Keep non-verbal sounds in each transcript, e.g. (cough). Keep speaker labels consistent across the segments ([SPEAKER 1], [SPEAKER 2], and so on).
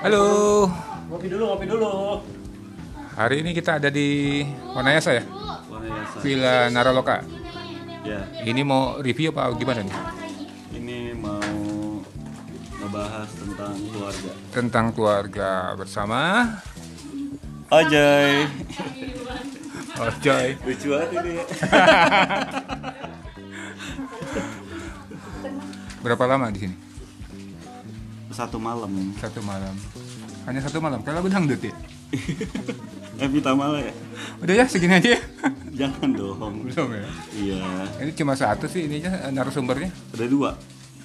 [SPEAKER 1] Halo,
[SPEAKER 2] Ngopi dulu, ngopi dulu.
[SPEAKER 1] hari ini kita ada di Wanayasa ya,
[SPEAKER 2] Wah, ya, Sa.
[SPEAKER 1] Villa Naraloka.
[SPEAKER 2] Ya,
[SPEAKER 1] Ini mau review apa gimana nih?
[SPEAKER 2] ini mau ngebahas tentang keluarga.
[SPEAKER 1] Tentang keluarga bersama
[SPEAKER 2] Ajay.
[SPEAKER 1] Oh, Ojoy.
[SPEAKER 2] Lucu banget ini. ya.
[SPEAKER 1] Berapa lama di sini?
[SPEAKER 2] Satu malam.
[SPEAKER 1] Satu malam. Hanya satu malam. Kalau lagu dangdut ya.
[SPEAKER 2] Evita malah ya?
[SPEAKER 1] Udah ya segini aja ya.
[SPEAKER 2] Jangan dong.
[SPEAKER 1] (laughs) Belum ya.
[SPEAKER 2] Iya.
[SPEAKER 1] Ini cuma satu sih ini aja narasumbernya.
[SPEAKER 2] Ada dua.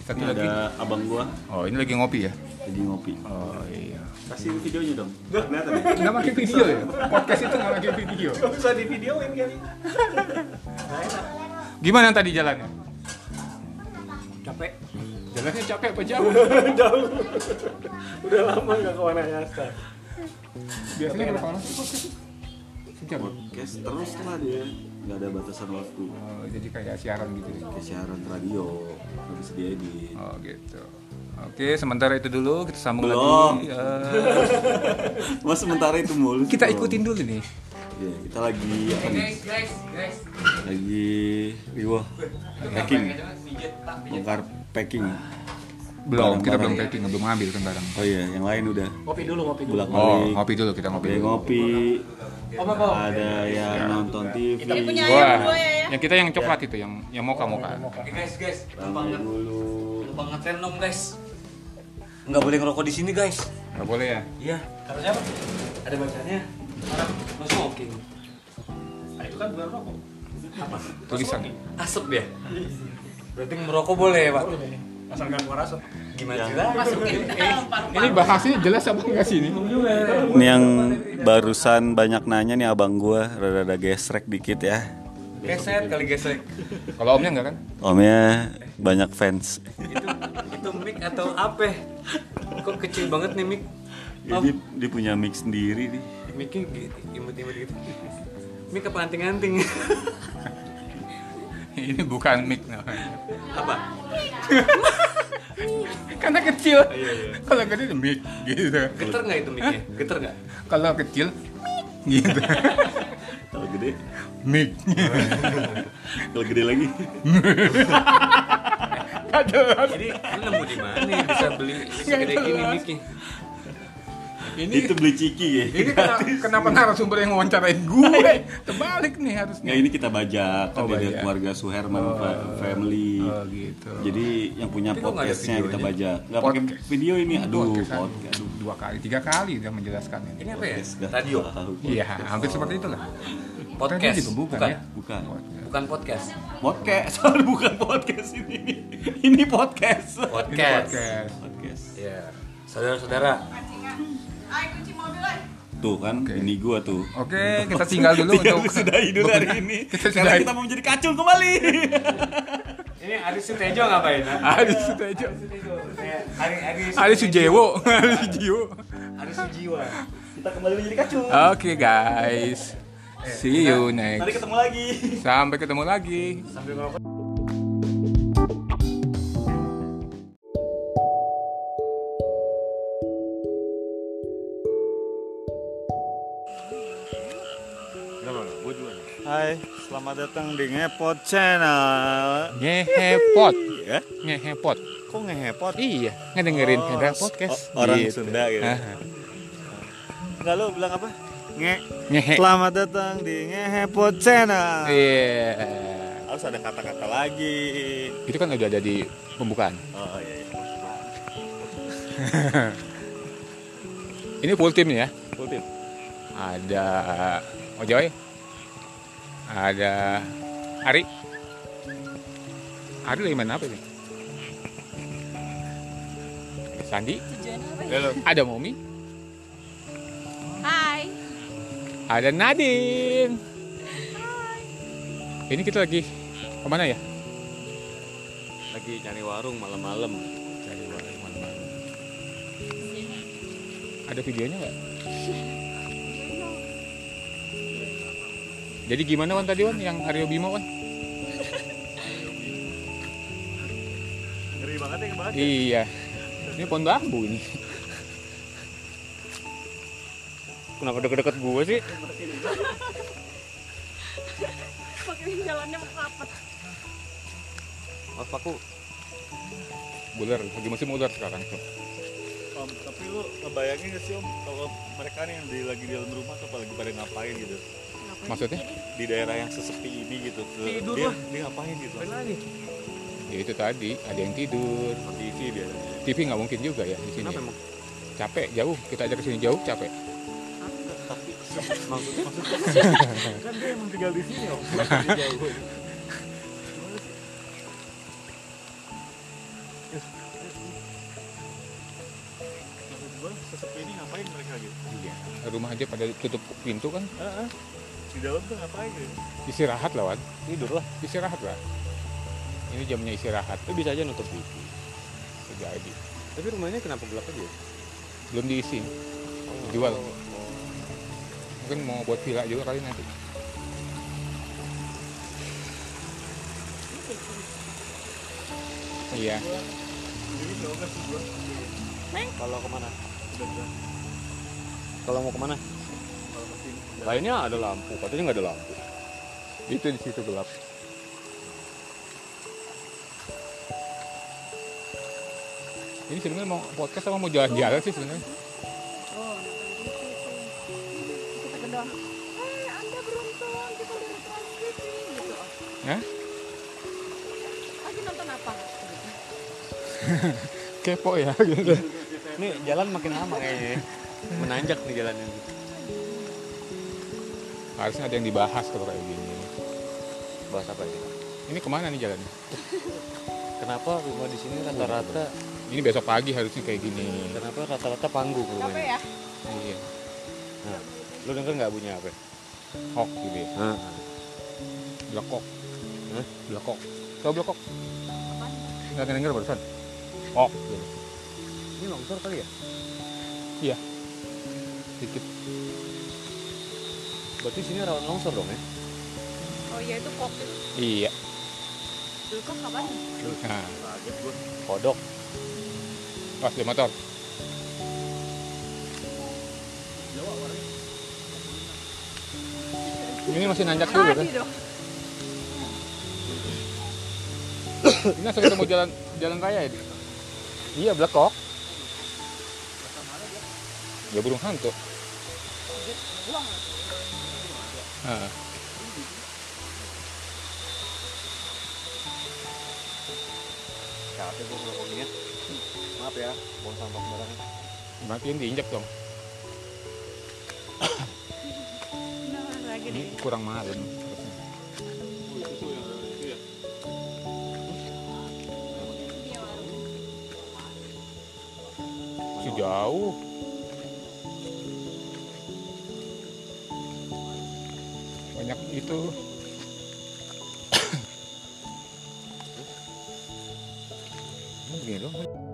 [SPEAKER 1] Satu
[SPEAKER 2] Ini
[SPEAKER 1] lagi.
[SPEAKER 2] ada abang gua
[SPEAKER 1] Oh ini lagi ngopi ya.
[SPEAKER 2] lagi ngopi.
[SPEAKER 1] Oh iya.
[SPEAKER 2] Kasih videonya dong. Gak kelihatan ya?
[SPEAKER 1] Nggak pakai video ya. Podcast itu nggak pakai video.
[SPEAKER 2] Gak usah di videoin kali.
[SPEAKER 1] Gimana tadi jalannya?
[SPEAKER 3] capek
[SPEAKER 1] Jalannya capek apa jauh?
[SPEAKER 3] jauh udah lama nggak ya, ke Wanayasa
[SPEAKER 1] Biasanya berapa lama sih podcast? Sejam. ya?
[SPEAKER 2] Podcast terus lah dia. Gak ada batasan waktu.
[SPEAKER 1] Oh, jadi kayak siaran gitu. ya?
[SPEAKER 2] Kayak siaran radio. Habis dia di
[SPEAKER 1] Oh gitu. Oke, sementara itu dulu kita sambung
[SPEAKER 2] Belum.
[SPEAKER 1] lagi. Eh,
[SPEAKER 2] Mas sementara itu mulu.
[SPEAKER 1] kita
[SPEAKER 2] dong.
[SPEAKER 1] ikutin dulu nih.
[SPEAKER 2] Ya, kita lagi apa nih? Lagi riwah packing. Bongkar packing.
[SPEAKER 1] Belum,
[SPEAKER 2] Barang-barang.
[SPEAKER 1] kita belum packing, belum ngambil kan barang.
[SPEAKER 2] Oh iya, yang lain udah
[SPEAKER 3] ngopi dulu ngopi dulu
[SPEAKER 2] bolak
[SPEAKER 1] Oh,
[SPEAKER 2] balik.
[SPEAKER 1] ngopi dulu kita ngopi
[SPEAKER 2] Ada yang
[SPEAKER 1] dulu.
[SPEAKER 2] ngopi.
[SPEAKER 3] Om, apa, Om?
[SPEAKER 2] Ada yang nonton TV.
[SPEAKER 4] punya ayam
[SPEAKER 1] Wah,
[SPEAKER 4] dua ya ya
[SPEAKER 1] yang kita yang coklat itu, yang yang moka moka.
[SPEAKER 5] Oke, guys, guys,
[SPEAKER 2] Ramai
[SPEAKER 5] banget,
[SPEAKER 2] dulu.
[SPEAKER 5] banget random guys. Nggak boleh ngerokok di sini guys.
[SPEAKER 1] Gak boleh ya?
[SPEAKER 5] Iya. Kata siapa? Ada bacanya. Orang no smoking.
[SPEAKER 3] Ah, itu kan bukan rokok
[SPEAKER 1] Tulisan.
[SPEAKER 5] Asap ya. Berarti merokok boleh ya pak?
[SPEAKER 3] boleh asal nggak keluar asap
[SPEAKER 5] Gimana Eh,
[SPEAKER 2] Ya.
[SPEAKER 5] sih lah?
[SPEAKER 4] masukin ke dalam
[SPEAKER 1] Ini
[SPEAKER 4] paru-paru
[SPEAKER 1] bahasnya jelas apa enggak sih ini?
[SPEAKER 2] Ini yang barusan banyak nanya nih abang gua rada-rada gesrek dikit ya.
[SPEAKER 5] Geset kali gesek.
[SPEAKER 1] Kalau omnya enggak kan?
[SPEAKER 2] Omnya banyak fans.
[SPEAKER 5] Itu itu mic atau apa? Kok kecil banget nih mic? Oh,
[SPEAKER 2] Jadi dia punya mic sendiri nih.
[SPEAKER 5] micnya gitu, imut-imut gitu. Mic apa anting-anting?
[SPEAKER 1] (laughs)
[SPEAKER 5] (laughs)
[SPEAKER 1] ini bukan mic namanya.
[SPEAKER 5] apa?
[SPEAKER 1] Karena kecil. Kalau gede mic gitu.
[SPEAKER 5] Geter nggak itu micnya? Geter nggak?
[SPEAKER 1] Kalau kecil gitu.
[SPEAKER 2] Kalau gede,
[SPEAKER 1] mic.
[SPEAKER 2] kalau gede lagi.
[SPEAKER 1] Aduh.
[SPEAKER 5] Jadi lu nemu di mana ya bisa beli
[SPEAKER 3] (laughs)
[SPEAKER 5] segede gini micnya?
[SPEAKER 1] Ini
[SPEAKER 2] Itu beli ciki ya.
[SPEAKER 1] Ini kena- kenapa narasumber yang wawancarain gue? Terbalik nih harusnya.
[SPEAKER 2] Nggak, ini kita bajak, kan
[SPEAKER 1] Oh,
[SPEAKER 2] dia dari
[SPEAKER 1] bajak.
[SPEAKER 2] keluarga Suherman fa- family.
[SPEAKER 1] Oh, gitu.
[SPEAKER 2] Jadi yang punya
[SPEAKER 5] Tapi kok nggak ada
[SPEAKER 2] podcastnya kita
[SPEAKER 5] videonya?
[SPEAKER 2] bajak. Nggak pakai
[SPEAKER 1] Podcast.
[SPEAKER 2] video ini, aduh
[SPEAKER 1] Podcast, aduh,
[SPEAKER 2] podcast. kan? ya?
[SPEAKER 1] aduh, dua kali, tiga kali udah menjelaskan ini.
[SPEAKER 5] Ini apa ya?
[SPEAKER 2] Podcast, nggak
[SPEAKER 5] Radio.
[SPEAKER 2] tahu.
[SPEAKER 1] Iya, hampir seperti itulah.
[SPEAKER 5] Podcast.
[SPEAKER 1] Tadi juga bukan,
[SPEAKER 5] Bukan.
[SPEAKER 1] ya?
[SPEAKER 2] Bukan.
[SPEAKER 1] Podcast.
[SPEAKER 5] Bukan podcast.
[SPEAKER 2] Podcast, (laughs) sorry bukan podcast ini. Ini podcast.
[SPEAKER 1] Ini
[SPEAKER 5] Podcast.
[SPEAKER 1] podcast.
[SPEAKER 2] Podcast.
[SPEAKER 5] Ya. Saudara-saudara,
[SPEAKER 4] ay kunci mobil ay
[SPEAKER 2] Tuh kan, ini gua tuh.
[SPEAKER 1] Oke, kita tinggal dulu
[SPEAKER 2] Tinggal
[SPEAKER 1] untuk-
[SPEAKER 2] sudahi dulu hari ini.
[SPEAKER 1] Kita
[SPEAKER 2] Karena
[SPEAKER 1] sudahi.
[SPEAKER 2] (laughs) kita mau menjadi kacung kembali.
[SPEAKER 3] ini Aris Sutejo ngapain
[SPEAKER 1] Aris Sutejo.
[SPEAKER 3] Aris Aris
[SPEAKER 1] Aris Sujewo. (laughs) Aris Sujiwo.
[SPEAKER 3] Aris Sujiwa
[SPEAKER 2] kita kembali menjadi kacung.
[SPEAKER 1] Oke guys. See you
[SPEAKER 2] Nanti
[SPEAKER 1] next.
[SPEAKER 2] ketemu lagi.
[SPEAKER 1] Sampai ketemu lagi.
[SPEAKER 3] sambil ngerokok
[SPEAKER 2] Hai, selamat datang di Ngepot Channel.
[SPEAKER 1] Ngehepot.
[SPEAKER 2] Ya,
[SPEAKER 1] Ngehepot.
[SPEAKER 2] kok ngehepot?
[SPEAKER 1] Iya, ngedengerin
[SPEAKER 2] Oh,
[SPEAKER 1] ada podcast.
[SPEAKER 2] o- orang
[SPEAKER 1] Gitu.
[SPEAKER 2] Sunda gitu.
[SPEAKER 1] Ah,
[SPEAKER 2] (laughs) Enggak lo bilang apa? Nge.
[SPEAKER 1] Ngehe.
[SPEAKER 2] Selamat datang di Ngehepot Channel.
[SPEAKER 1] Iya.
[SPEAKER 2] Harus ada kata-kata lagi.
[SPEAKER 1] Itu kan udah ada di pembukaan.
[SPEAKER 2] Oh iya. iya.
[SPEAKER 1] Ini full team nih ya.
[SPEAKER 2] Full team.
[SPEAKER 1] Ada Ojoy. Ada Ari. Ari lagi main apa ini? Ada Sandi.
[SPEAKER 4] tujuannya apa ya?
[SPEAKER 1] Ada Momi.
[SPEAKER 4] hai
[SPEAKER 1] Ada Nadine. Ini kita lagi kemana ya?
[SPEAKER 5] lagi nyari warung malam-malam.
[SPEAKER 1] Ada videonya nggak? Jadi gimana Wan tadi Wan yang Aryo Bimo Wan?
[SPEAKER 2] Ngeri banget ya kebalik.
[SPEAKER 1] Iya. Ini pohon bambu ini.
[SPEAKER 3] Kenapa deket-deket gue sih?
[SPEAKER 4] Pakai jalannya rapat.
[SPEAKER 5] Maaf aku
[SPEAKER 1] Buler, lagi musim ular sekarang tuh.
[SPEAKER 6] Om, tapi lu ngebayangin gak sih om kalau mereka nih yang di, lagi di dalam rumah tuh apalagi pada ngapain gitu
[SPEAKER 1] Maksudnya?
[SPEAKER 6] di daerah yang sesepi ini gitu tuh,
[SPEAKER 5] Tidur
[SPEAKER 6] dia,
[SPEAKER 5] lah.
[SPEAKER 6] dia ngapain gitu
[SPEAKER 5] main lagi.
[SPEAKER 1] Ya itu tadi, ada yang tidur.
[SPEAKER 6] TV biasanya
[SPEAKER 1] TV nggak mungkin juga ya di sini.
[SPEAKER 5] Kenapa
[SPEAKER 1] ya.
[SPEAKER 5] emang?
[SPEAKER 1] Capek, jauh. Kita dari sini jauh, capek.
[SPEAKER 6] kan dia emang tinggal di sini om Maksud gua, sesepi ini ngapain mereka gitu
[SPEAKER 1] Iya. Rumah aja pada tutup pintu kan.
[SPEAKER 6] Heeh. di dalam tuh ngapain gitu
[SPEAKER 1] Istirahat lah, Wan.
[SPEAKER 3] ya? Tidur lah.
[SPEAKER 1] Istirahat lah. Ini jamnya istirahat.
[SPEAKER 3] Lu bisa aja nutup TV.
[SPEAKER 1] Jadi.
[SPEAKER 3] Tapi rumahnya kenapa gelap aja? Oh. ya?
[SPEAKER 1] Belum diisi. Dijual. Mungkin mau buat villa juga kali nanti. Iya.
[SPEAKER 3] Kalau kemana? Kalau mau kemana? Lainnya ada lampu, katanya nggak ada lampu.
[SPEAKER 1] Itu di situ gelap. Ini sebenarnya mau podcast sama mau jalan-jalan sih sebenarnya.
[SPEAKER 4] Kita ke doang. Eh, Anda beruntung kita dari Trans TV gitu. Om.
[SPEAKER 1] Hah?
[SPEAKER 4] Lagi nonton apa? Gitu.
[SPEAKER 1] Kepo ya (laughs) gitu.
[SPEAKER 3] Ini jalan makin lama kayaknya. ya. Menanjak nih jalan ini.
[SPEAKER 1] Harusnya ada yang dibahas kalau kayak gini.
[SPEAKER 3] Bahas apa ini?
[SPEAKER 1] Ini kemana nih jalan?
[SPEAKER 3] Kenapa rumah di sini rata-rata?
[SPEAKER 1] Ini besok pagi harusnya kayak gini.
[SPEAKER 3] Kenapa rata-rata panggung
[SPEAKER 4] Capek
[SPEAKER 3] rumahnya?
[SPEAKER 4] ya?
[SPEAKER 1] Iya.
[SPEAKER 3] Nah, lu denger nggak bunyi apa?
[SPEAKER 1] Hok gitu ya. Blekok.
[SPEAKER 3] Hah?
[SPEAKER 1] Blekok. Tau blekok? Nggak denger barusan. Hok gitu.
[SPEAKER 3] Iya. Ini longsor kali ya?
[SPEAKER 1] Iya. Dikit.
[SPEAKER 3] Berarti sini rawan longsor dong ya?
[SPEAKER 4] Oh iya itu pop itu.
[SPEAKER 1] Iya.
[SPEAKER 4] Dulu kok kapan?
[SPEAKER 1] Nah,
[SPEAKER 3] Kodok.
[SPEAKER 1] pas di motor. Ini masih nanjak dulu kan?
[SPEAKER 4] Tadi dong.
[SPEAKER 1] Ini langsung ketemu jalan jalan raya ya? ini. Iya, blekok. Ya burung hantu. Nah,
[SPEAKER 3] Capek gue ngomongnya. Maaf ya, buang sampah sembarangan.
[SPEAKER 1] matiin diinjak dong.
[SPEAKER 4] Nah, lagi nih.
[SPEAKER 1] Ini kurang malam.
[SPEAKER 4] Dia baru.
[SPEAKER 1] Si jauh. Banyak itu. Ini begini dong.